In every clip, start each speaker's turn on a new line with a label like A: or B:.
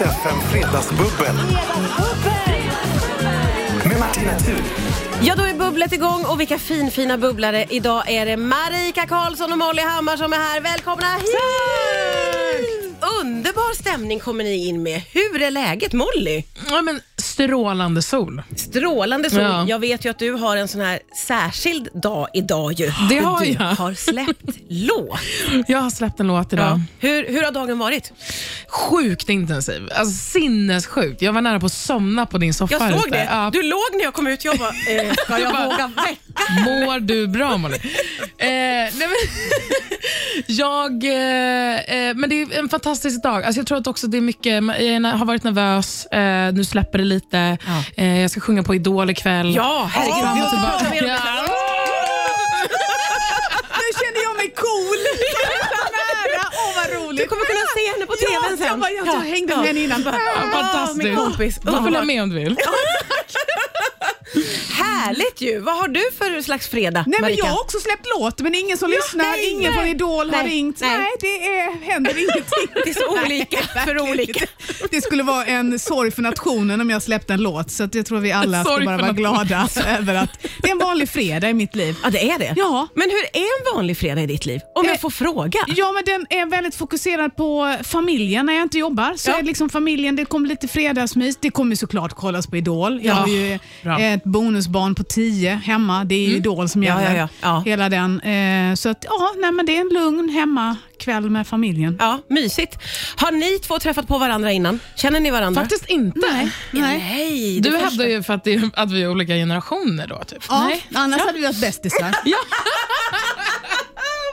A: FM Fredagsbubbel med Martina Thun.
B: Ja, då är bubblet igång och vilka finfina bubblare. Idag är det Marika Karlsson och Molly Hammar som är här. Välkomna hit! Underbar stämning kommer ni in med. Hur är läget Molly?
C: Ja, men strålande sol.
B: Strålande sol.
C: Ja.
B: Jag vet ju att du har en sån här särskild dag idag ju.
C: Det har
B: du
C: jag.
B: har släppt låt.
C: Jag har släppt en låt idag.
B: Ja. Hur, hur har dagen varit?
C: Sjukt intensiv. Alltså sinnessjukt. Jag var nära på att somna på din soffa.
B: Jag
C: här
B: såg
C: ute.
B: det.
C: Ja.
B: Du låg när jag kom ut. Jag bara, eh, ska jag våga väcka?
C: Mår du bra Molly? eh, nej men, jag, eh, eh, men det är en fantastisk dag. Alltså jag tror att också det är mycket, jag är- har varit nervös, eh, nu släpper det lite.
B: Ja.
C: Eh, jag ska sjunga på Idol ikväll.
B: Ja, herregud.
C: Fram
B: vi
C: och
B: måste
C: tillbaka.
B: prata mer om
C: Ja.
B: det.
D: Nu känner jag mig cool. Så nära. Åh, vad roligt.
B: Du kommer kunna se henne på TVn sen.
D: Ja, jag, bara, jag, jag hängde med henne innan. Bara,
C: Ja,
B: min Ah, kompis.
C: Fantastiskt. Du får följa med om du vill.
B: Härligt ju! Vad har du för slags fredag,
D: Nej, men
B: Marika?
D: jag har också släppt låt, men ingen som lyssnar,
B: nej,
D: ingen
B: nej.
D: från Idol har
B: Nej,
D: ringt.
B: nej.
D: Nej, det är, händer ingenting.
B: Det är så olika för olika.
D: Det skulle vara en sorg för nationen om jag släppte en låt, så att jag tror vi alla ska
C: Sorg
D: bara
C: för
D: vara
C: nationen.
D: glada över att det är en vanlig fredag i mitt liv.
B: Ja, det är det.
D: Ja.
B: Men hur är en vanlig fredag i ditt liv? Om jag
D: Eh,
B: får fråga.
D: Ja, men den är väldigt fokuserad på familjen när jag inte jobbar. Så
B: Ja.
D: är det liksom familjen, det kommer lite fredagsmys. Det kommer såklart kollas på Idol. Jag
C: Ja,
D: har ju
C: bra.
D: ett bonusbarn på 10 hemma. Det är ju Idol som
B: Mm. Ja,
D: gäller.
B: ja, ja, ja.
D: Hela den. Eh, Så att, ja, nej, men det är en lugn hemmakväll med familjen.
B: Ja, mysigt. Har ni två träffat på varandra innan? Känner ni varandra?
C: Faktiskt inte.
D: nej.
B: Nej. det
C: Du
B: första-
C: hävdar ju för att, det är, att vi är olika generationer då, typ.
D: Ja, annars hade vi varit bästisar.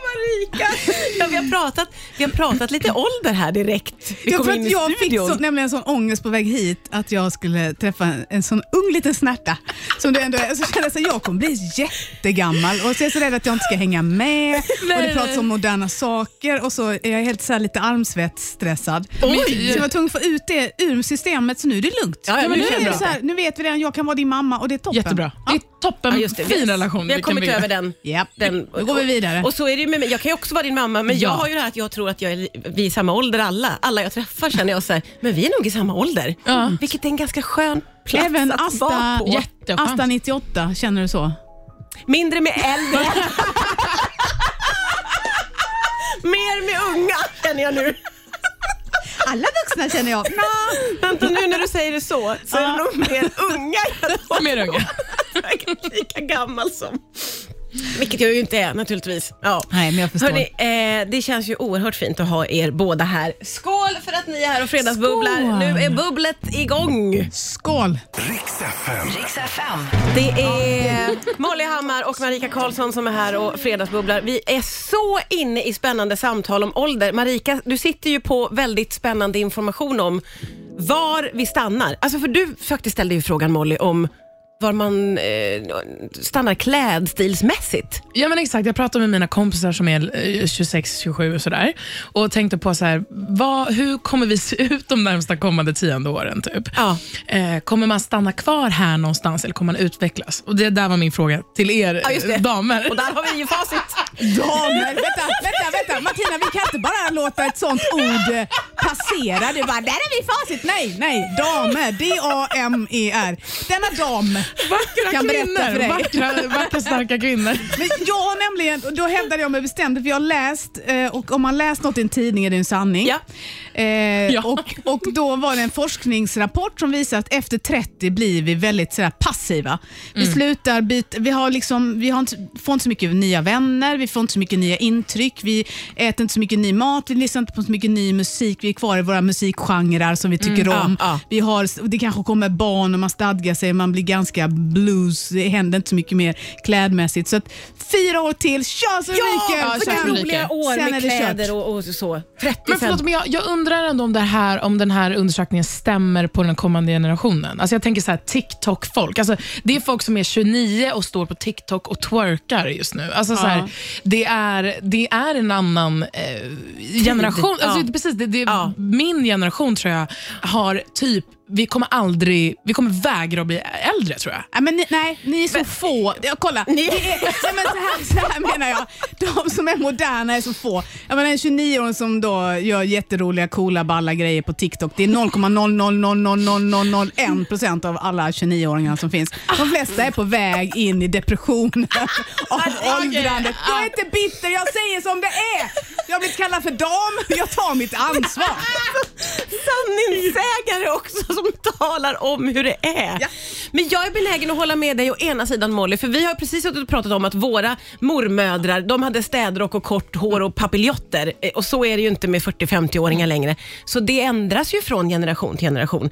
B: Marika! Ja, vi, har pratat, vi har pratat lite ålder här direkt. Vi
D: Jag
B: kom
D: tror
B: in i
D: att jag fick
B: studion.
D: så, nämligen sån ångest på väg hit att jag skulle träffa en, en sån ung liten snärta. Som det ändå är. Så kände jag att jag kommer bli jättegammal och så är jag så rädd att jag inte ska hänga med. och det pratas om moderna saker och så är jag helt så här lite armsvettstressad.
C: Oj!
D: Så jag var tvungen att få ut det ur systemet så nu är det lugnt.
B: Ja, ja, men
D: nu,
B: det
D: är
B: känns
D: det
B: bra.
D: så här, nu vet vi redan, jag kan vara din mamma och det är toppen.
C: Jättebra. Det är toppen,
B: Ja, just det.
C: fin relation.
B: Vi har
C: vilken
B: kommit
C: vi är.
B: över den.
D: Japp.
B: den.
D: Nu går vi vidare.
B: Och så är det ju med mig. Jag kan ju också vara din mamma, men jag
C: Ja.
B: har ju det här att jag tror att jag är, vi är samma ålder alla. Alla jag träffar känner jag så här, men vi är nog i samma ålder.
C: Ja.
B: Vilket är en ganska skön plats
D: Även
B: att vara
D: Asta,
B: på.
C: Jätteskönt.
D: Asta 98, känner du så?
B: Mindre med äldre. Mer med unga känner jag nu.
D: Alla vuxna känner jag.
B: Vänta nu när du säger det så, så är det
D: Ja.
B: nog mer unga jag tror.
C: Mer unga.
B: Säkert lika gammal som. Vilket jag ju inte är naturligtvis. Ja.
D: Nej, men jag förstår.
B: Hörrni, eh, det känns ju oerhört fint att ha er båda här. Skål för att ni är här och fredagsbubblar.
C: Skål.
B: Nu är bubblet igång.
D: Skål!
A: Riks FM.
B: Det är Molly Hammar och Marika Karlsson som är här och fredagsbubblar. Vi är så inne i spännande samtal om ålder. Marika, du sitter ju på väldigt spännande information om var vi stannar. Alltså för du faktiskt ställde ju frågan Molly om var man eh, stannar klädstilsmässigt.
C: Ja men exakt, jag pratade med mina kompisar som är eh, 26, 27 och sådär och tänkte på så här, vad, hur kommer vi se ut de närmsta kommande tionde åren? Typ?
B: Ja.
C: Eh, kommer man stanna kvar här någonstans eller kommer man utvecklas? Och Det där var min fråga till er
B: Ja, just det.
C: eh, damer.
B: Och där har vi ju facit.
D: Damer, vänta, vänta, vänta. Martina, vi kan inte bara låta ett sånt ord eh, passera. Du bara, där är vi facit. Nej, nej. Damer, D-A-M-E-R. E Denna dam
C: Vackra
D: kan berätta för dig.
C: kvinnor, vackra, vackra starka kvinnor.
D: Men jag har nämligen, och då hävdade jag mig bestämt, för jag har läst, eh, och om man läst något i en tidning är det en sanning.
B: Ja.
D: Eh,
C: Ja.
D: Och, och då var det en forskningsrapport som visar att efter 30 blir vi väldigt sådär, passiva. Vi slutar byta, vi, har liksom, vi har inte, får inte så mycket nya vänner, vi får inte så mycket nya intryck, vi äter inte så mycket ny mat, vi lyssnar inte på så mycket ny musik, vi är kvar i våra musikgenrer som vi tycker
B: ja,
D: om.
B: ja.
D: Vi har, det kanske kommer barn och man stadgar sig, man blir ganska blues, det händer inte så mycket mer klädmässigt. Så att fyra år till, kör så
B: Ja,
D: mycket!
B: så
C: kör
D: Sen-
C: så mycket.
B: roliga år
D: Sen är
B: med
D: det
B: kläder
D: kört.
B: och, och så. 30
C: Men
B: sen.
C: förlåt, men jag, jag undrar ändå om, det här, om den här undersökningen stämmer på den kommande generationen. Alltså jag tänker så här TikTok-folk. Alltså det är folk som är 29 och står på TikTok och twerkar just nu. Alltså så
D: Ja.
C: här, det, är, det är en annan eh, generation. Alltså
B: Ja.
C: det- Precis, det, det,
B: Ja.
C: Min generation tror jag har typ vi kommer aldrig, vi kommer vägra att bli äldre tror jag.
D: Ja, men ni, nej, ni är så få. Ja, kolla, ni är, ja, men så, här, så här menar jag. De som är moderna är så få. Jag menar, en 29-åring som då gör jätteroliga, coola, balla grejer på TikTok. Det är 0,0000001 procent av alla 29-åringar som finns. De flesta är på väg in i depressionen av åldrandet. Jag är inte bitter, jag säger som det är. Jag har blivit kallad för dam, jag tar mitt ansvar.
B: sanningssägare också som talar om hur det är.
D: Ja.
B: Men jag är benägen att hålla med dig å ena sidan Molly, för vi har precis suttit och pratat om att våra mormödrar, de hade städrock och kort hår och papiljotter Eh, och så är det ju inte med 40-50-åringar längre. Så det ändras ju från generation till generation.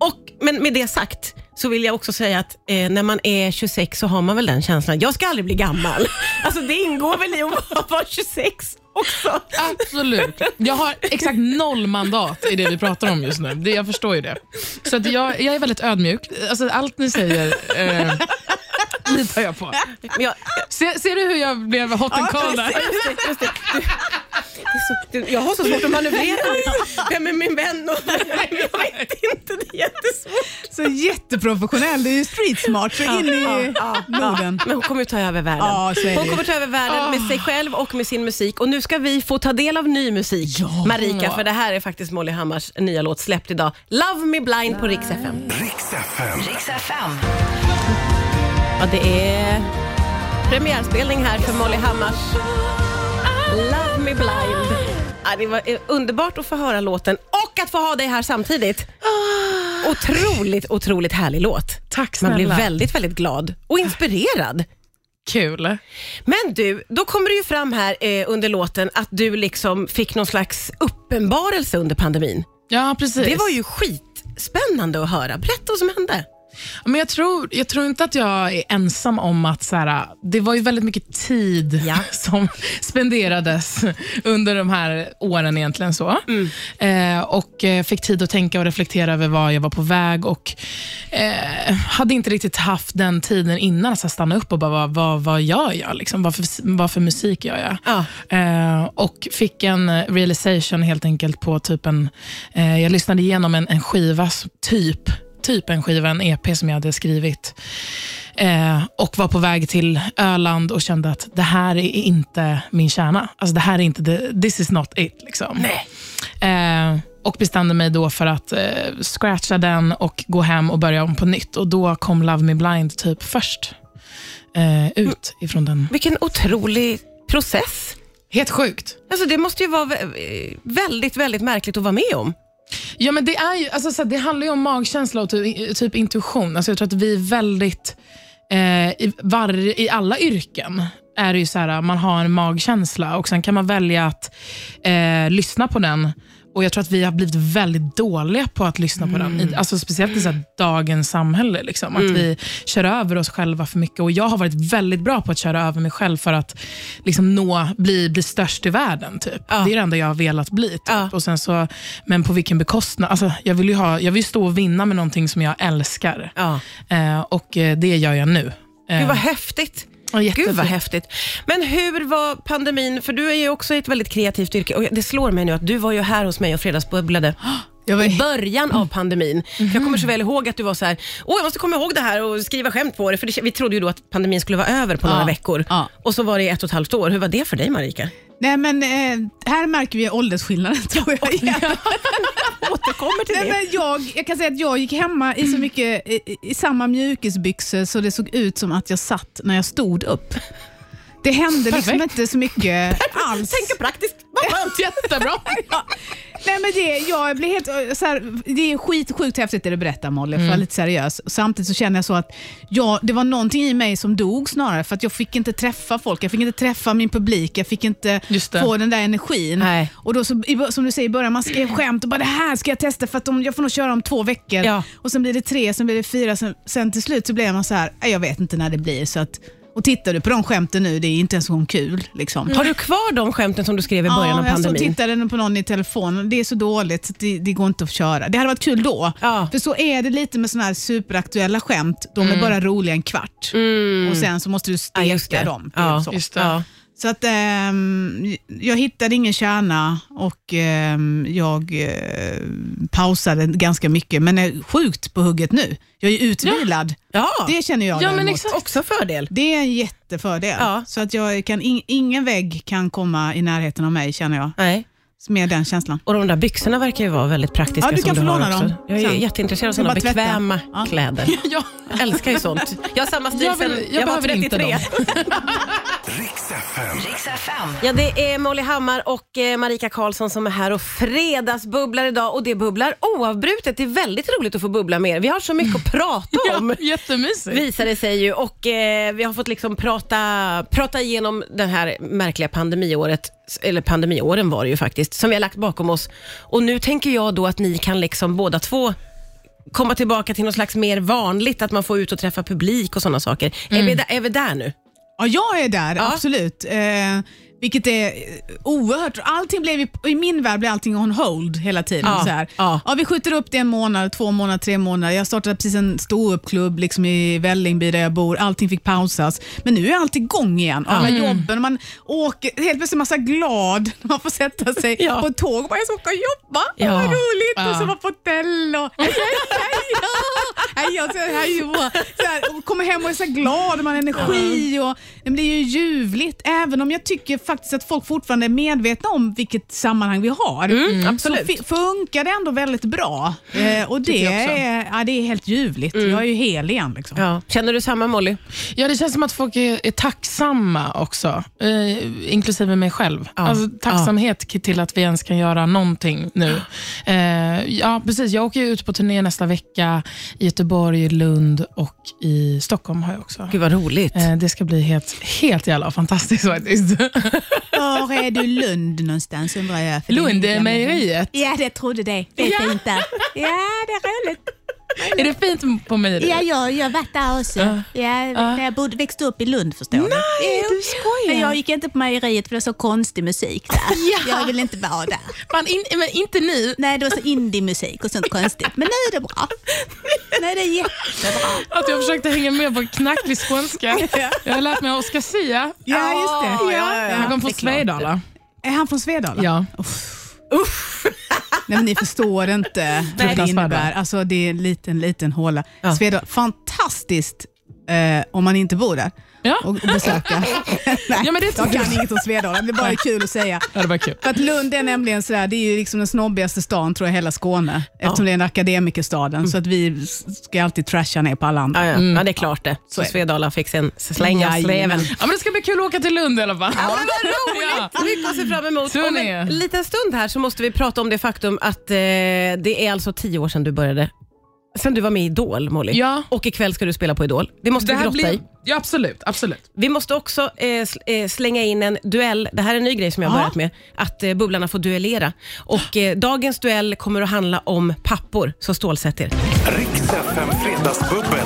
B: Och, men med det sagt så vill jag också säga att eh, när man är 26 så har man väl den känslan, jag ska aldrig bli gammal. Alltså det ingår väl i att vara- vara 26 också.
C: Absolut. Jag har exakt noll mandat i det vi pratar om just nu. Det, jag förstår ju det. Så att jag, jag är väldigt ödmjuk. Alltså, allt ni säger eh, litar jag på.
B: Men jag,
C: Se, ser du hur jag blev hot and cold där?
B: Det är så- du- Jag har så svårt att manövrera. Vem är min vän? Och, jag vet inte, det är jättesvårt.
D: Så jätteprofessionell, det är ju street smart så in i Norden.
B: Men hon kommer ju ta över världen.
D: Ja, så är det. Ah.
B: hon kommer ta över världen med sig själv och med sin musik. Och nu ska vi få ta del av ny musik, Marika, för det här är faktiskt Molly Hammars nya låt släppt idag. Love Me Blind på Rix FM.
A: Riks FM.
E: Riks FM.
B: Ja, det är premiärspelning här för Molly Hammars Love Me Blind. Ja, det var eh, underbart att få höra låten och att få ha dig här samtidigt. Otroligt, otroligt härlig låt.
C: Ah. Tack
B: Man blir
C: snälla.
B: väldigt, väldigt glad och inspirerad.
C: Kul.
B: Men du, då kommer det ju fram här eh, under låten att du liksom fick någon slags uppenbarelse under pandemin.
C: Ja, precis.
B: Det var ju skitspännande att höra. Berätta vad som hände.
C: Men jag tror, jag tror inte att jag är ensam om att så här, det var ju väldigt mycket tid
B: Ja.
C: som spenderades under de här åren egentligen. så. Eh, och eh, fick tid att tänka och reflektera över var jag var på väg och eh, hade inte riktigt haft den tiden innan att så här, stanna upp och bara, vad, vad, vad gör jag? Liksom, vad, för, vad för musik gör jag?
B: Ja.
C: Eh, och fick en eh, realization helt enkelt på typ en, eh, jag lyssnade igenom en, en skiva, s- typ, typ en skiva, en EP som jag hade skrivit. Eh, och var på väg till Öland och kände att det här är inte min kärna. Alltså det här är inte, the, this is not it. Liksom. Eh, och bestämde mig då för att eh, scratcha den och gå hem och börja om på nytt. Och då kom Love Me Blind typ först eh, ut ifrån den.
B: Vilken otrolig process.
C: Helt sjukt.
B: Alltså det måste ju vara vä- eh, väldigt, väldigt märkligt att vara med om.
C: Ja, men det, är ju, alltså, så här, det handlar ju om magkänsla och typ, typ intuition. Alltså, jag tror att vi är väldigt, eh, i, var, i alla yrken är det ju så här, äh, man har en magkänsla och sen kan man välja att eh, lyssna på den. Och Jag tror att vi har blivit väldigt dåliga på att lyssna på
B: Mm.
C: den. I- Alltså, speciellt i så här, dagens samhälle. Liksom. Att vi kör över oss själva för mycket. Och Jag har varit väldigt bra på att köra över mig själv för att liksom, nå, bli, bli störst i världen. Typ. Det är det enda jag har velat bli. Typ.
B: Ja.
C: Och sen så, men på vilken bekostnad? Alltså, jag, vill ju ha, jag vill stå och vinna med någonting som jag älskar.
B: Ja.
C: Eh, och eh, Det gör jag nu. Eh,
B: Gud vad häftigt.
C: Ja, jättefint.
B: Gud vad häftigt. Men hur var pandemin, för du är ju också i ett väldigt kreativt yrke och det slår mig nu att du var ju här hos mig och fredagsbubblade
D: Jag var
B: i början av pandemin. För jag kommer så väl ihåg att du var så här, åh jag måste komma ihåg det här och skriva skämt på det, för det, vi trodde ju då att pandemin skulle vara över på några veckor.
D: ja.
B: Och så var det i ett och ett halvt år. Hur var det för dig Marika?
D: Nej, men eh, här märker vi åldersskillnaden tror jag. igen.
B: Återkommer till
D: Nej,
B: det. Mm.
D: men jag, jag kan säga att jag gick hemma i så mycket i, i samma mjukisbyxor så det såg ut som att jag satt när jag stod upp. Det hände liksom
C: Perfekt.
D: inte så mycket alls.
B: Tänker praktiskt, vad skönt.
C: Jättebra.
D: Ja. Nej, men det, jag blir helt, eh, så här, det är skitsjukt häftigt det du berättar Molly, för att vara lite seriös. Samtidigt så känner jag så att jag, det var någonting i mig som dog snarare, för att jag fick inte träffa folk, jag fick inte träffa min publik, jag fick inte
C: Just det.
D: få den där energin.
B: Nej.
D: Och då så, i bör- som du säger i början, man skrev skämt och bara det här ska jag testa för att om, jag får nog köra om två veckor.
B: Ja.
D: Och Sen blir det tre, sen blir det fyra, sen, sen till slut så blev man så här, "Nej, jag vet inte när det blir. Så att, och tittar du på de skämten nu, det är inte ens en kul. Liksom
B: Har du kvar de skämten som du skrev i början av
D: jag
B: pandemin?
D: så tittade på någon i telefonen. Det är så dåligt så det, det går inte att köra. Det hade varit kul då.
B: Ja. Mm.
D: För så är det lite med såna här superaktuella skämt. De är bara roliga en kvart. Och Sen så måste du
B: Ja, just
D: steka
B: det.
D: dem.
B: Ja,
D: så.
C: Just det.
B: Ja.
D: Så att ehm, jag hittade ingen kärna och ehm, jag eh, pausade ganska mycket, men är sjukt på hugget nu. Jag är utvilad.
B: Ja,
D: Det känner jag
C: Ja, men
D: däremot.
C: exakt.
B: också fördel.
D: Det är en jättefördel.
B: Ja.
D: Så att jag kan, in, ingen vägg kan komma i närheten av mig känner jag,
B: Nej.
D: med den känslan.
B: Och de där byxorna verkar ju vara väldigt praktiska
D: Ja, du
B: som
D: kan
B: du
D: få
B: har
D: låna
B: också.
D: dem
B: Jag är
D: sen.
B: jätteintresserad av
D: Ska
B: sådana
D: bara tvätta.
B: bekväma
D: Ja.
B: kläder.
C: Ja.
B: Jag älskar ju sånt. Jag har samma stil
C: Jag vill-
B: sen
C: jag
B: jag var
C: behöver
B: 33.
C: inte dem.
A: Riks FM.
E: Riks FM.
B: Ja, det är Molly Hammar och eh, Marika Karlsson som är här och fredagsbubblar idag och det bubblar oavbrutet. Det är väldigt roligt att få bubbla med er. Vi har så mycket att prata om.
C: Ja, jättemysigt.
B: visar det sig ju och eh, vi har fått liksom prata, prata igenom det här märkliga pandemiåret, eller pandemiåren var det ju faktiskt, som vi har lagt bakom oss. Och nu tänker jag då att ni kan liksom båda två komma tillbaka till något slags mer vanligt, att man får ut och träffa publik och sådana saker. Är, vi där, är vi där nu?
D: Ja, jag är där,
B: Ja.
D: absolut. Eh, vilket är eh, oerhört. Allting blev, ju- I min värld blev allting on hold hela tiden.
B: Ja,
D: Så här.
B: ja.
D: vi skjuter upp det en månad, två månader, tre månader. Jag startade precis en ståuppklubb liksom i Vällingby där jag bor. Allting fick pausas. Men nu är allt igång igen. Alla
B: Mm.
D: jobben och man åker. Helt plötsligt är man så här glad när man får sätta sig
B: Ja.
D: på ett tåg och bara, jag ska åka och jobba.
B: Ja.
D: Vad roligt!
C: Ja.
D: Och så var på hotell och hej, hej, hej, ja. hej, ja, så- hej, ja. så här, och kommer hem och är så här glad och man har energi. Och, men det är ju ljuvligt, även om jag tycker faktiskt att folk fortfarande är medvetna om vilket sammanhang vi har.
B: absolut.
D: Så fi- funkar det ändå väldigt bra. Eh, och det,
C: jag också.
D: är, ja, det är helt ljuvligt. Jag är ju hel igen. Liksom.
B: Ja. Känner du samma Molly?
C: Ja, det känns som att folk är, är tacksamma också, eh, inklusive mig själv. Alltså, tacksamhet k- till att vi ens kan göra någonting nu. Eh, ja, precis. Jag åker ju ut på turné nästa vecka i Göteborg, Lund och i Stockholm har jag också.
B: Gud vad roligt.
C: Eh, det ska bli helt, helt jävla fantastiskt faktiskt.
D: Var är du Lund någonstans undrar jag? För
C: Lund,
D: det är
C: eh, mejeriet.
D: Ja, det trodde det. Det är fint där. Ja, det är roligt.
C: Är det fint på mejeriet?
F: Ja, jag, jag har varit där också. Ja, När jag bodde, växte upp i Lund förstår du. Nej,
C: du skojar.
F: Men jag gick inte på mejeriet för det var så konstig musik där.
C: Ja.
F: Jag ville inte vara där.
C: Fan, in, men inte ni.
F: Nej, det var så indie-musik och sånt konstigt. Men nu är det bra. Nu är det jättebra.
C: Att jag försökte hänga med på knacklig skånska. Jag har lärt mig av Oscar Sia.
D: Ja, just det.
C: Han kom från Svedala.
D: Är han från Svedala?
C: Ja.
D: Nej, men ni förstår inte vad det
C: Fruktansvärda.
D: innebär. Alltså, det är en liten, liten håla. Svedala, fantastiskt eh, om man inte bor där
C: Ja.
D: och, och besöka. Nej,
C: Ja, men det
D: jag
C: tycker
D: kan inget om Svedala, det är bara kul att säga.
C: Ja, det var kul.
D: För att Lund är nämligen sådär, det är ju liksom den snobbigaste stan tror jag i hela Skåne, eftersom det är en akademikerstaden, så att vi s- ska alltid trasha ner på alla andra.
B: Ja, ja. ja, det är klart det. Mm. Så Svedala fick sin släng av sleven.
D: Jajamän.
C: Ja, men det ska bli kul att åka till Lund i alla fall. Ja, men roligt!
B: Mycket att se fram emot.
C: Turné.
B: Om en liten stund här så måste vi prata om det faktum att eh, det är alltså tio år sedan du började. Sen du var med i Idol, Molly.
C: Ja.
B: Och ikväll ska du spela på Idol. Det måste
C: Det
B: vi
C: här
B: grotta i.
C: blir... Ja, absolut. absolut.
B: Vi måste också eh, sl- eh, slänga in en duell. Det här är en ny grej som jag har börjat med. Att eh, Bubblarna får duellera. Och eh, dagens duell kommer att handla om pappor, så stålsätt er.
A: Riks FM Fredagsbubbel.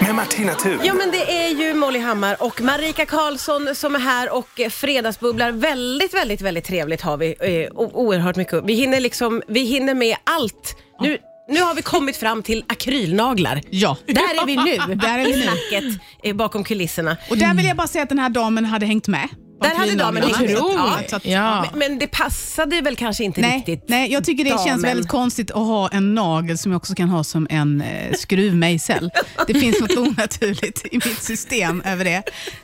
A: Med Martina Thun.
B: Ja men det är ju Molly Hammar och Marika Karlsson som är här och eh, fredagsbubblar. Väldigt, väldigt, väldigt trevligt har vi. eh, o- Oerhört mycket. Vi hinner liksom, vi hinner med allt. Nu, nu har vi kommit fram till akrylnaglar.
D: Ja.
B: Där är vi nu.
D: Där är vi
B: I
D: nu.
B: snacket eh, bakom kulisserna.
D: Och där vill jag bara säga att den här damen hade hängt med.
B: Där hade damen hängt med.
D: Ja, så att-
C: Ja.
B: Men, men det passade väl kanske inte
D: Nej,
B: riktigt.
D: nej, jag tycker det
B: damen.
D: känns väldigt konstigt att ha en nagel som jag också kan ha som en eh, skruvmejsel. Det finns något onaturligt i mitt system över det.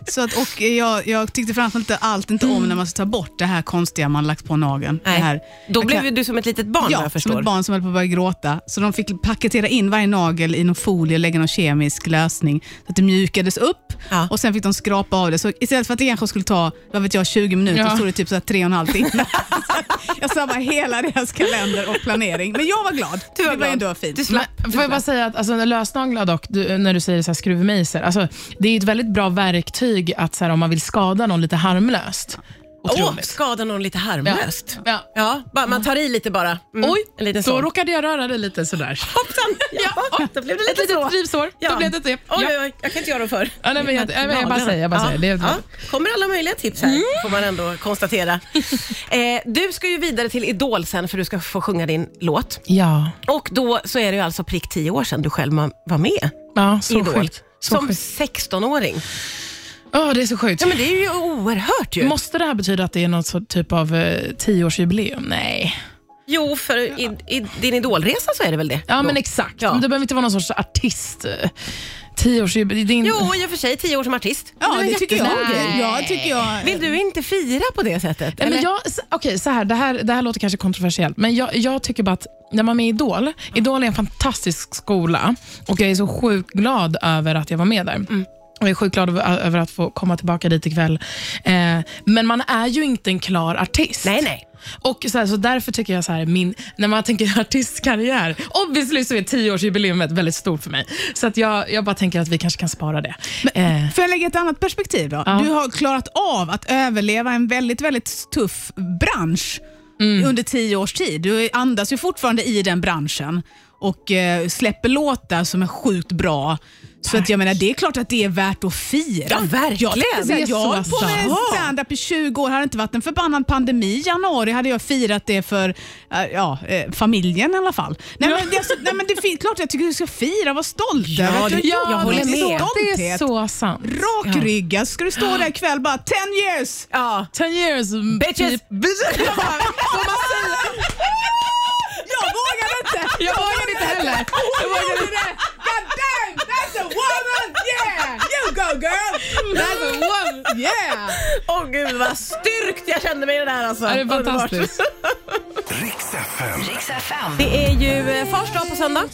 D: Så att, och eh, jag, jag tyckte framförallt inte- allt inte om när man ska ta bort det här konstiga man lagt på nageln. Det här,
B: Mm. Nej. Då
D: jag
B: blev
D: kan-
B: ju du som ett litet barn vad
D: Ja,
B: jag
D: som
B: förstår.
D: ett barn som höll på att börja gråta. Så de fick paketera in varje nagel i någon folie och lägga någon kemisk lösning så att det mjukades upp
B: Ja.
D: och sen fick de skrapa av det. Så istället för att det kanske skulle ta vad vet jag, 20 minuter
C: Ja.
D: så tog det typ så här tre och en halv timme. Så att jag sabbar hela deras kalender och planering. Men jag var glad.
B: Du var
D: det
B: glad.
D: var ändå fint.
B: Du slapp.
C: Men, får jag bara säga att alltså, lösnaglar dock, du, när du säger så här, skruvmejsel, alltså, det är ju ett väldigt bra verktyg att så här, om man vill skada någon lite harmlöst.
B: Åh,
C: Otroligt.
B: skada någon lite harmlöst.
C: Ja.
B: Ja, bara, man tar i lite bara. Mm,
C: Oj,
B: en liten
C: då
B: sån.
C: råkade jag röra dig lite sådär.
B: Hoppsan! Ja, då blev det
C: Ett
B: lite så.
C: litet drivsår.
B: Ja.
C: Då blev det det.
B: Oj,
C: Ja.
B: oj, oj, jag kan inte göra dem för.
C: Ja, nej, men jag, nej, men jag bara säger. Jag bara
B: Ja,
C: säger. Det är, Mm.
B: ja. Kommer alla möjliga tips här, får man ändå konstatera. eh, du ska ju vidare till Idol sen för du ska få sjunga din låt.
C: ja.
B: Och då så är det ju alltså prick 10 år sedan du själv ma- var med
C: ja, så
B: i Idol.
C: sjukt. Så
B: Som
C: sjukt.
B: 16-åring.
C: Ja, det är så sjukt.
B: Ja, men det är ju oerhört ju.
C: Måste det här betyda att det är något så- typ av eh, tioårsjubileum? Nej.
B: Jo, för i, i din idolresa så är det väl det?
C: Ja,
B: Då.
C: men exakt.
B: Ja.
C: Men det behöver inte vara någon sorts artist. eh, Tioårsjubileum. Din...
B: Jo, i och för sig tio år som artist.
D: Ja,
B: är
D: det,
B: väl
D: tycker jag.
B: jättestor grej.
C: Nej.
D: Ja, tycker jag.
B: Vill du inte fira på det sättet?
C: Nej, men
B: eller?
C: jag, s- okej, så här, det, här, det här låter kanske kontroversiellt, men jag, jag tycker bara att när man är med i Idol, Idol är en fantastisk skola och jag är så sjukt glad över att jag var med där. Och jag är sjukt glad över, över att få komma tillbaka dit ikväll. Eh, men man är ju inte en klar artist.
B: nej, nej.
C: Och så, här, så därför tycker jag så här, min, när man tänker artistkarriär, obviously så är tioårsjubileumet väldigt stort för mig. Så att jag, jag bara tänker att vi kanske kan spara det. eh,
D: Får jag lägga ett annat perspektiv då? Du har klarat av att överleva en väldigt, väldigt tuff bransch
C: Mm.
D: under tio års tid. Du andas ju fortfarande i den branschen och eh, släpper låtar som är sjukt bra. Så att jag menar, det är klart att det är värt att fira.
B: Ja, verkligen.
D: Jag, tänkte säga,
C: Det är
D: jag har
C: så
D: hållit på med
C: sant.
D: stand-up i 20 år. Hade det inte varit en förbannad pandemi i januari hade jag firat det för eh, ja, eh, familjen i alla fall. Nej, men, det, är alltså, nej, men det är fint. klart jag tycker du ska fira. Var stolt över att du har
B: det-
D: gjort
B: jag
D: det.
B: håller
D: Det är
B: med.
C: det är
D: stolthet.
C: så sant.
D: Rakryggad Alltså, ska du stå där ikväll bara 10 years.
B: Ja.
C: 10 years, mm, typ,
B: Bitches.
C: bitches.
D: Jag vågar inte!
C: Jag vågar inte heller. Jag vågar inte.
D: God damn, that's a woman! Yeah! You go girl!
C: That's a woman.
D: Yeah!
B: Åh gud vad styrkt jag kände mig i det här alltså.
C: Det är
B: Underbart.
C: fantastiskt.
A: Riks FM.
B: Det är ju eh, fars dag på söndag.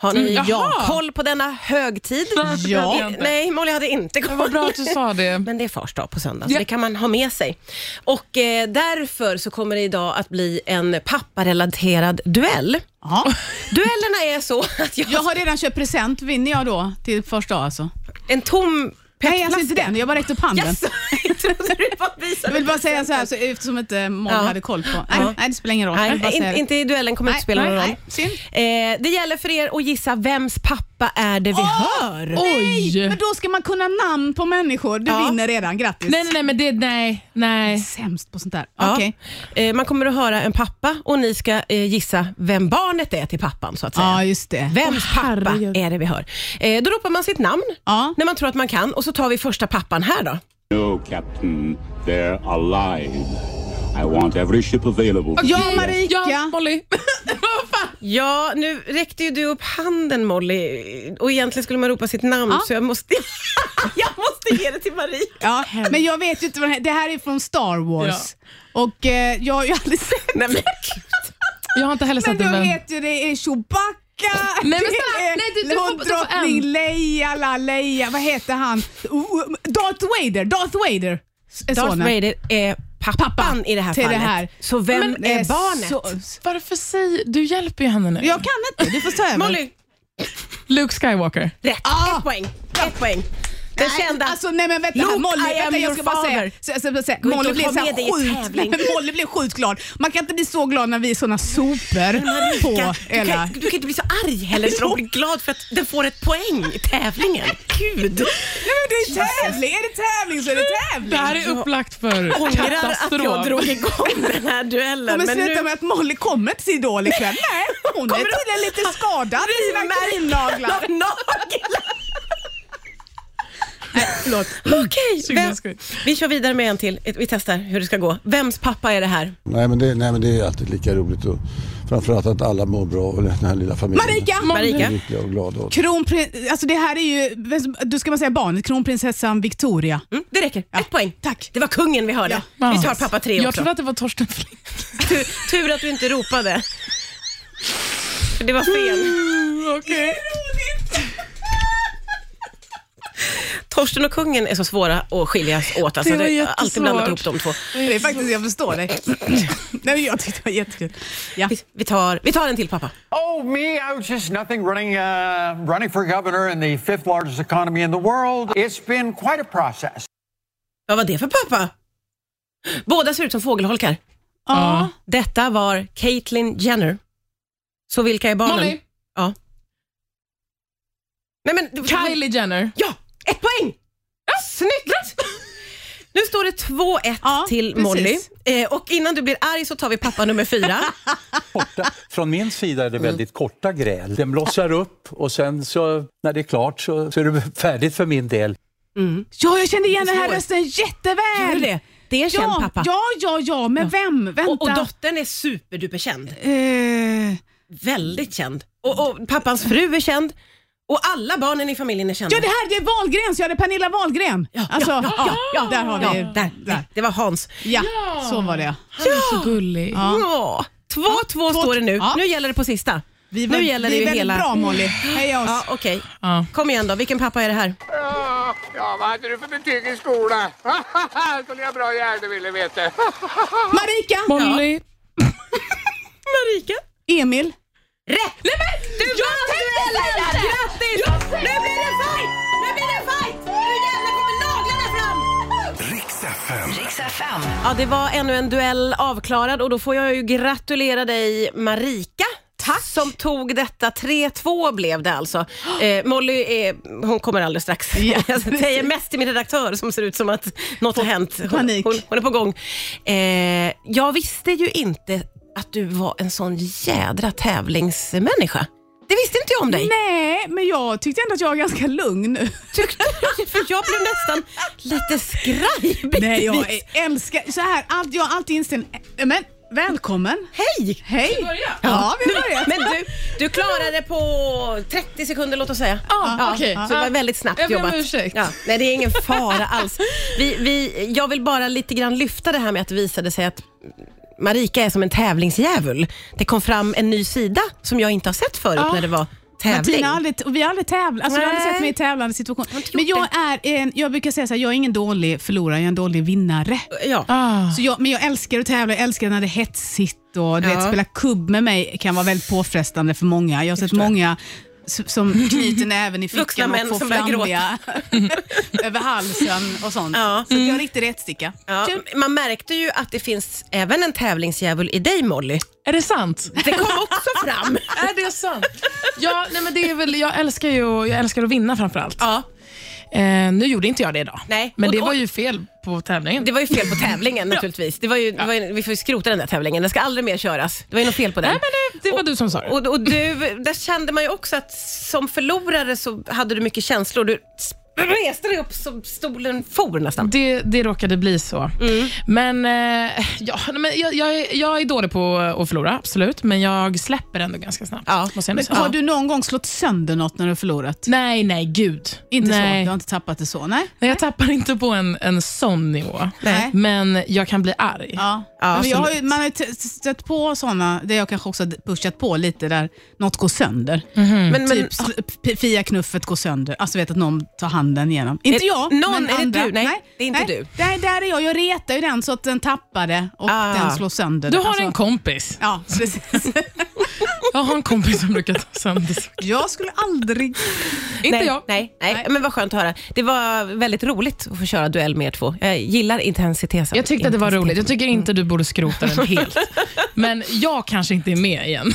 B: Har ni
C: Mm,
B: ja,
C: jaha.
B: koll på denna högtid?
C: Ja.
B: Eh, Nej, Molly hade inte koll.
C: Vad bra att du sa det.
B: Men det är fars dag på söndag, så
C: Ja.
B: det kan man ha med sig. Och eh, därför så kommer det idag att bli en papparelaterad duell.
D: Ja.
B: Duellerna är så att jag...
D: Jag har redan köpt present. Vinner jag då till första dag alltså?
B: En tom
D: Nej, alltså
B: petflaska.
D: inte den. Jag bara räckte upp handen.
B: Yes! jag trodde du bara visade
D: Jag vill bara säga så här, så, eftersom inte Molly
B: Ja.
D: hade koll på... Nej,
B: Ja.
D: nej, det spelar ingen roll. jag vill bara
B: Nej,
D: säga
B: in,
D: det.
B: inte i duellen kommer
D: Nej,
B: inte spela någon
D: nej,
B: roll.
D: nej. Synd.
B: Eh, det gäller för er att gissa vems pappa är det vi hör.
D: Nej,
C: Oj.
D: men då ska man kunna namn på människor. Du
B: Ja.
D: vinner redan, grattis.
C: Nej, nej, nej, men det, nej, nej.
D: Sämst på sånt där.
B: Ja.
D: Okej.
B: Eh, man kommer att höra en pappa och ni ska eh, gissa vem barnet är till pappan så att säga.
D: Ja, just det.
B: Vems pappa
C: herregud.
B: är det vi hör? Eh, då ropar man sitt namn
D: Ja.
B: när man tror att man kan och så tar vi första pappan här då.
E: No, Captain, they're alive. I want every ship available.
D: Ja, Marika.
C: Ja, Molly. Vad fan?
B: Ja, nu räckte ju du upp handen Molly och egentligen skulle man ropa sitt namn så jag måste, jag måste ge det till Marie.
D: Ja, men jag vet ju inte vad det här, det här är från Star Wars. Och eh, jag har ju aldrig sett
B: Nej, men, alltså,
C: Jag har inte heller
D: Men
C: sett
D: du
C: den.
D: vet ju det är Chewbacca,
C: men
D: det
C: snälla,
D: är
C: nej, du- du får- du får en.
D: drottning Leia, la Leia, vad heter han? Oh, Darth Vader, Darth Vader. s- är
B: Darth
D: sonen.
B: Vader är pappan
D: Pappa
B: i det här
D: till det
B: fallet.
D: här.
B: Så vem
D: Men,
B: är
D: eh,
B: barnet?
D: så-
C: Varför säger... Du hjälper ju henne nu.
D: Jag kan inte, du får ta över.
B: Molly,
C: Luke Skywalker.
B: rätt. Ett poäng. Ett poäng. Den
D: Nej,
B: kända.
D: Alltså, nej men vänta,
B: Luke,
D: här, Molly,
B: I am
D: vänta, jag
B: your
D: ska bara säga,
B: father.
D: så, jag ska bara säga
B: Gå inte
D: Molly
B: och
D: blev
B: ta
D: så
B: med dig i
D: här sjukt,
B: tävling.
D: nej, men Molly blev sjukt glad. Man kan inte bli så glad när vi är såna sopor på
B: du,
D: Ella.
B: kan, du kan inte bli så arg heller så de blir glad för att den får ett poäng i tävlingen. Gud!
D: Nej men det är tävling, är det tävling så är det tävling.
C: Det här är upplagt för
B: Ångrar att jag
C: katastrof.
B: drog igång den här duellen.
D: Men,
B: men
D: sluta
B: nu...
D: med att Molly kommer till Idol ikväll. Nej, hon är
B: Kommer du-
D: tydligen lite skadad i sina
B: Frimärken
D: krinnaglar.
B: av naglar.
D: Förlåt.
B: Okej, vem-
C: skull.
B: vi kör vidare med en till. Vi testar hur det ska gå. Vems pappa är det här?
G: Nej men, det, nej men det är alltid lika roligt och framförallt att alla mår bra och den här lilla familjen
D: Marika!
B: Marika?
G: är lycklig och glad. Och
D: Kronprins... Alltså det här är ju... Du ska man säga barnet? Kronprinsessan Victoria.
B: Mm, det räcker. Ett poäng.
D: Tack.
B: Det var kungen vi hörde.
C: Ja.
B: Vi tar pappa tre
C: Jag
B: också.
C: trodde att det var Torsten Flink.
B: Tur, tur att du inte ropade. För det var fel.
C: Okej.
B: Torsten och kungen är så svåra att skiljas åt. Alltså,
C: Det var
B: det jag har alltid
C: jättesvårt.
B: blandat ihop de två.
D: Det är faktiskt, jag förstår dig. Nej, men jag tyckte det var jättekul. Ja.
B: Vi, vi, tar, vi tar en till pappa.
H: Oh, me, I was just nothing running, uh, running for governor in the fifth largest economy in the world. It's been quite a process.
B: Vad var det för pappa? Båda ser ut som fågelholkar.
D: Ja.
B: Detta var Caitlyn Jenner. Så vilka är barnen?
C: Molly.
B: Ja. Nej, men,
C: Kylie Jenner.
B: Ja, ett poäng! Snyggt! Nu står det 2-1
D: Ja,
B: till
D: precis.
B: Molly. Eh, och innan du blir arg så tar vi pappa nummer fyra.
I: korta. Från min sida är det väldigt korta gräl. Den blossar upp och sen så när det är klart så, så är det färdigt för min del.
D: Ja, jag kände igen den här
B: Svår.
D: rösten jätteväl.
B: Gjorde du det? Det är en känd
D: ja,
B: pappa.
D: Ja, ja, ja, men vem? Vänta.
B: Och, och dottern är superduperkänd.
D: Eh,
B: Väldigt känd. Och, och pappans fru är känd. Och alla barnen i familjen är kända.
D: ja, det här det är Wahlgren, så jag hade Pernilla Wahlgren.
B: Ja,
D: alltså,
B: ja, ja, ja, ja,
D: där har vi.
B: Ja, där, där. Det var Hans.
D: Ja, så var det.
C: Han är så gullig.
B: Ja. 2-2
D: två-
B: står det nu.
D: ja.
B: Nu gäller det på sista.
D: Vi var,
B: nu gäller
D: vi
B: det
D: är
B: ju
D: väldigt
B: hela...
D: bra Molly. Heja oss.
B: Ja, okej.
C: Ja.
B: Kom igen då, vilken pappa är det här?
J: Ja, vad hade du för betyg i skolan? Skulle jag bra i Erdeville, vet du.
D: Marika,
C: Molly.
B: Marika.
D: Emil.
B: Rätt! Nej men! Du jag tänkte Grattis! Nu blir det fight! Nu blir det fight! Nu jävlar kommer naglarna fram!
A: Riks FM.
K: Riks FM.
B: Ja, det var ännu en duell avklarad och då får jag ju gratulera dig Marika. Tack. Som tog detta. 3-2 blev det alltså. Eh, Molly är, hon kommer alldeles strax.
D: Ja,
B: jag säger mest till min redaktör som ser ut som att något har hänt. Hon,
D: panik.
B: Hon, hon är på gång. Eh, jag visste ju inte att du var en sån jädra tävlingsmänniska. Det visste inte jag om dig.
D: Nej, men jag tyckte ändå att jag var ganska lugn nu.
B: Tyckte, för jag blev nästan lite skraj
D: Nej,
B: bitvis.
D: jag älskar så här. Allt, jag har alltid inställd... eh, Men välkommen.
B: Hej!
D: Hej.
C: vi börja?
D: Ja, vi
B: Nu-
D: börjar.
B: Men du, du klarade det på 30 sekunder låt oss säga.
C: Ja, okej.
B: Så det var väldigt snabbt
C: Jag ber om
B: jobbat.
C: ursäkt.
B: Ja, nej, det är ingen fara alls. Vi, vi, jag vill bara lite grann lyfta det här med att det visade sig att Marika är som en tävlingsdjävul. Det kom fram en ny sida som jag inte har sett förut
D: Ja.
B: när det var tävling.
D: Martina har aldrig, och vi har aldrig tävlat, alltså, vi har aldrig
B: Nej.
D: sett mig i tävlande situation.
B: gjort
D: Men jag, är en, jag brukar säga så här, jag är ingen dålig förlorare, jag är en dålig vinnare.
B: ja.
C: Ah.
D: Så jag, men jag älskar att tävla, jag älskar när det är hetsigt och du
B: Ja.
D: vet, spela kubb med mig kan vara väldigt påfrestande för många. Jag har sett många s- som knyter näven i
B: Vuxna
D: fickan
B: män
D: och får
B: som börjar
D: flambiga över halsen och sånt.
B: Ja. Mm.
D: Så att jag är en riktig rättsticka.
B: Ja, man märkte ju att det finns även en tävlingsdjävul i dig Molly.
C: Är det sant?
B: Det kom också fram.
C: Är det sant? Ja, nej, men det är väl, jag, älskar ju, jag älskar att vinna framförallt.
B: Ja,
C: Eh, nu gjorde inte jag det idag,
B: Nej.
C: men det
B: Och-
C: var ju fel på tävlingen.
B: Det var ju fel på tävlingen naturligtvis. Det var ju, det var ju, vi får ju skrota den där tävlingen. Den ska aldrig mer köras. Det var ju något fel på den.
C: nej, men det, det var du som sa det.
B: Och, och du, där kände man ju också att som förlorare så hade du mycket känslor. Du reste dig upp som stolen for nästan.
C: Det, det råkade bli så.
B: Mm.
C: Men, eh, ja, nej, men jag, jag, är- jag är dålig på att förlora, absolut. Men jag släpper ändå ganska snabbt.
B: Ja.
C: Måste jag ändå säga.
D: Har du någon gång slått sönder något när du har förlorat?
C: Nej, nej, gud.
D: Inte
C: nej.
D: så, du har inte tappat det så? Nej.
C: Nej, jag tappar inte på en, en sån nivå.
D: Nej.
C: Men jag kan bli arg.
D: Ja.
B: Ja,
D: men jag har, ju-
C: absolut.
D: man har ju t- stött på sådana där jag kanske också har pushat på lite där något går sönder.
C: Mhm.
B: men, men,
D: Typ sl- p- Fia-knuffet går sönder. Alltså vet att någon tar handen igenom. Inte
B: det
D: jag,
B: någon?
D: men
B: Är det
D: andra.
B: du? Nej, det är inte
D: nej.
B: du.
D: Nej, där är jag. Jag retar ju den så att den tappar det och
B: Ah.
D: den slår sönder
C: Du
D: det.
C: har
D: Alltså,
C: en kompis.
D: Ja, precis.
C: Jag har en kompis som brukar ta sönder saker.
D: jag skulle aldrig...
C: Inte
B: nej,
C: jag.
B: Nej, nej, men vad skönt att höra. Det var väldigt roligt att få köra duell med er två. Jag gillar intensiteten.
C: Jag tyckte att det var
B: Intensiteten.
C: roligt. Jag tycker inte du borde skrota den helt. Men jag kanske inte är med igen.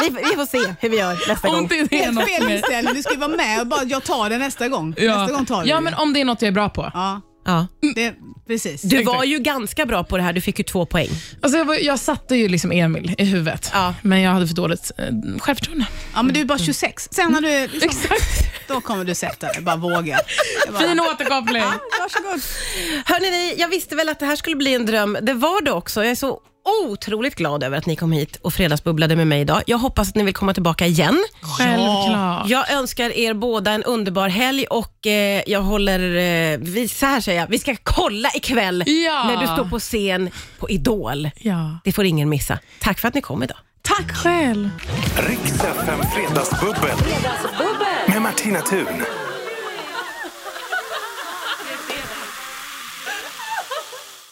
B: Vi, vi får se hur vi gör nästa
C: Om
B: gång.
C: det är
D: Helt
C: något
D: fel
C: med.
D: inställning. Du ska ju vara med och bara, jag tar det nästa gång. Nästa gång tar
C: Ja.
D: du
C: ja,
D: det.
C: men om det är något jag är bra på.
D: Ja,
B: Ja.
D: det, precis.
B: Du var ju ganska bra på det här. Du fick ju två poäng.
C: Alltså jag, var, jag satte ju liksom Emil i huvudet,
B: Ja.
C: men jag hade för dåligt eh, självförtroende.
D: Ja, men du är bara 26. Sen när du...
C: Mm. Exakt.
D: Då kommer du sätta dig, bara våga. Det är bara-
C: Fin återkoppling.
D: Varsågod.
B: Hörrni, ni, jag visste väl att det här skulle bli en dröm. Det var det också. Jag är så otroligt glad över att ni kom hit och fredagsbubblade med mig idag. Jag hoppas att ni vill komma tillbaka igen.
C: Självklart.
B: Jag önskar er båda en underbar helg och eh, jag håller, eh, vi, så här säger jag, vi ska kolla ikväll
C: Ja.
B: när du står på scen på Idol.
C: Ja.
B: Det får ingen missa. Tack för att ni kom idag.
C: Tack själv.
A: Riks FM Fredagsbubbel. Med Martina Thun.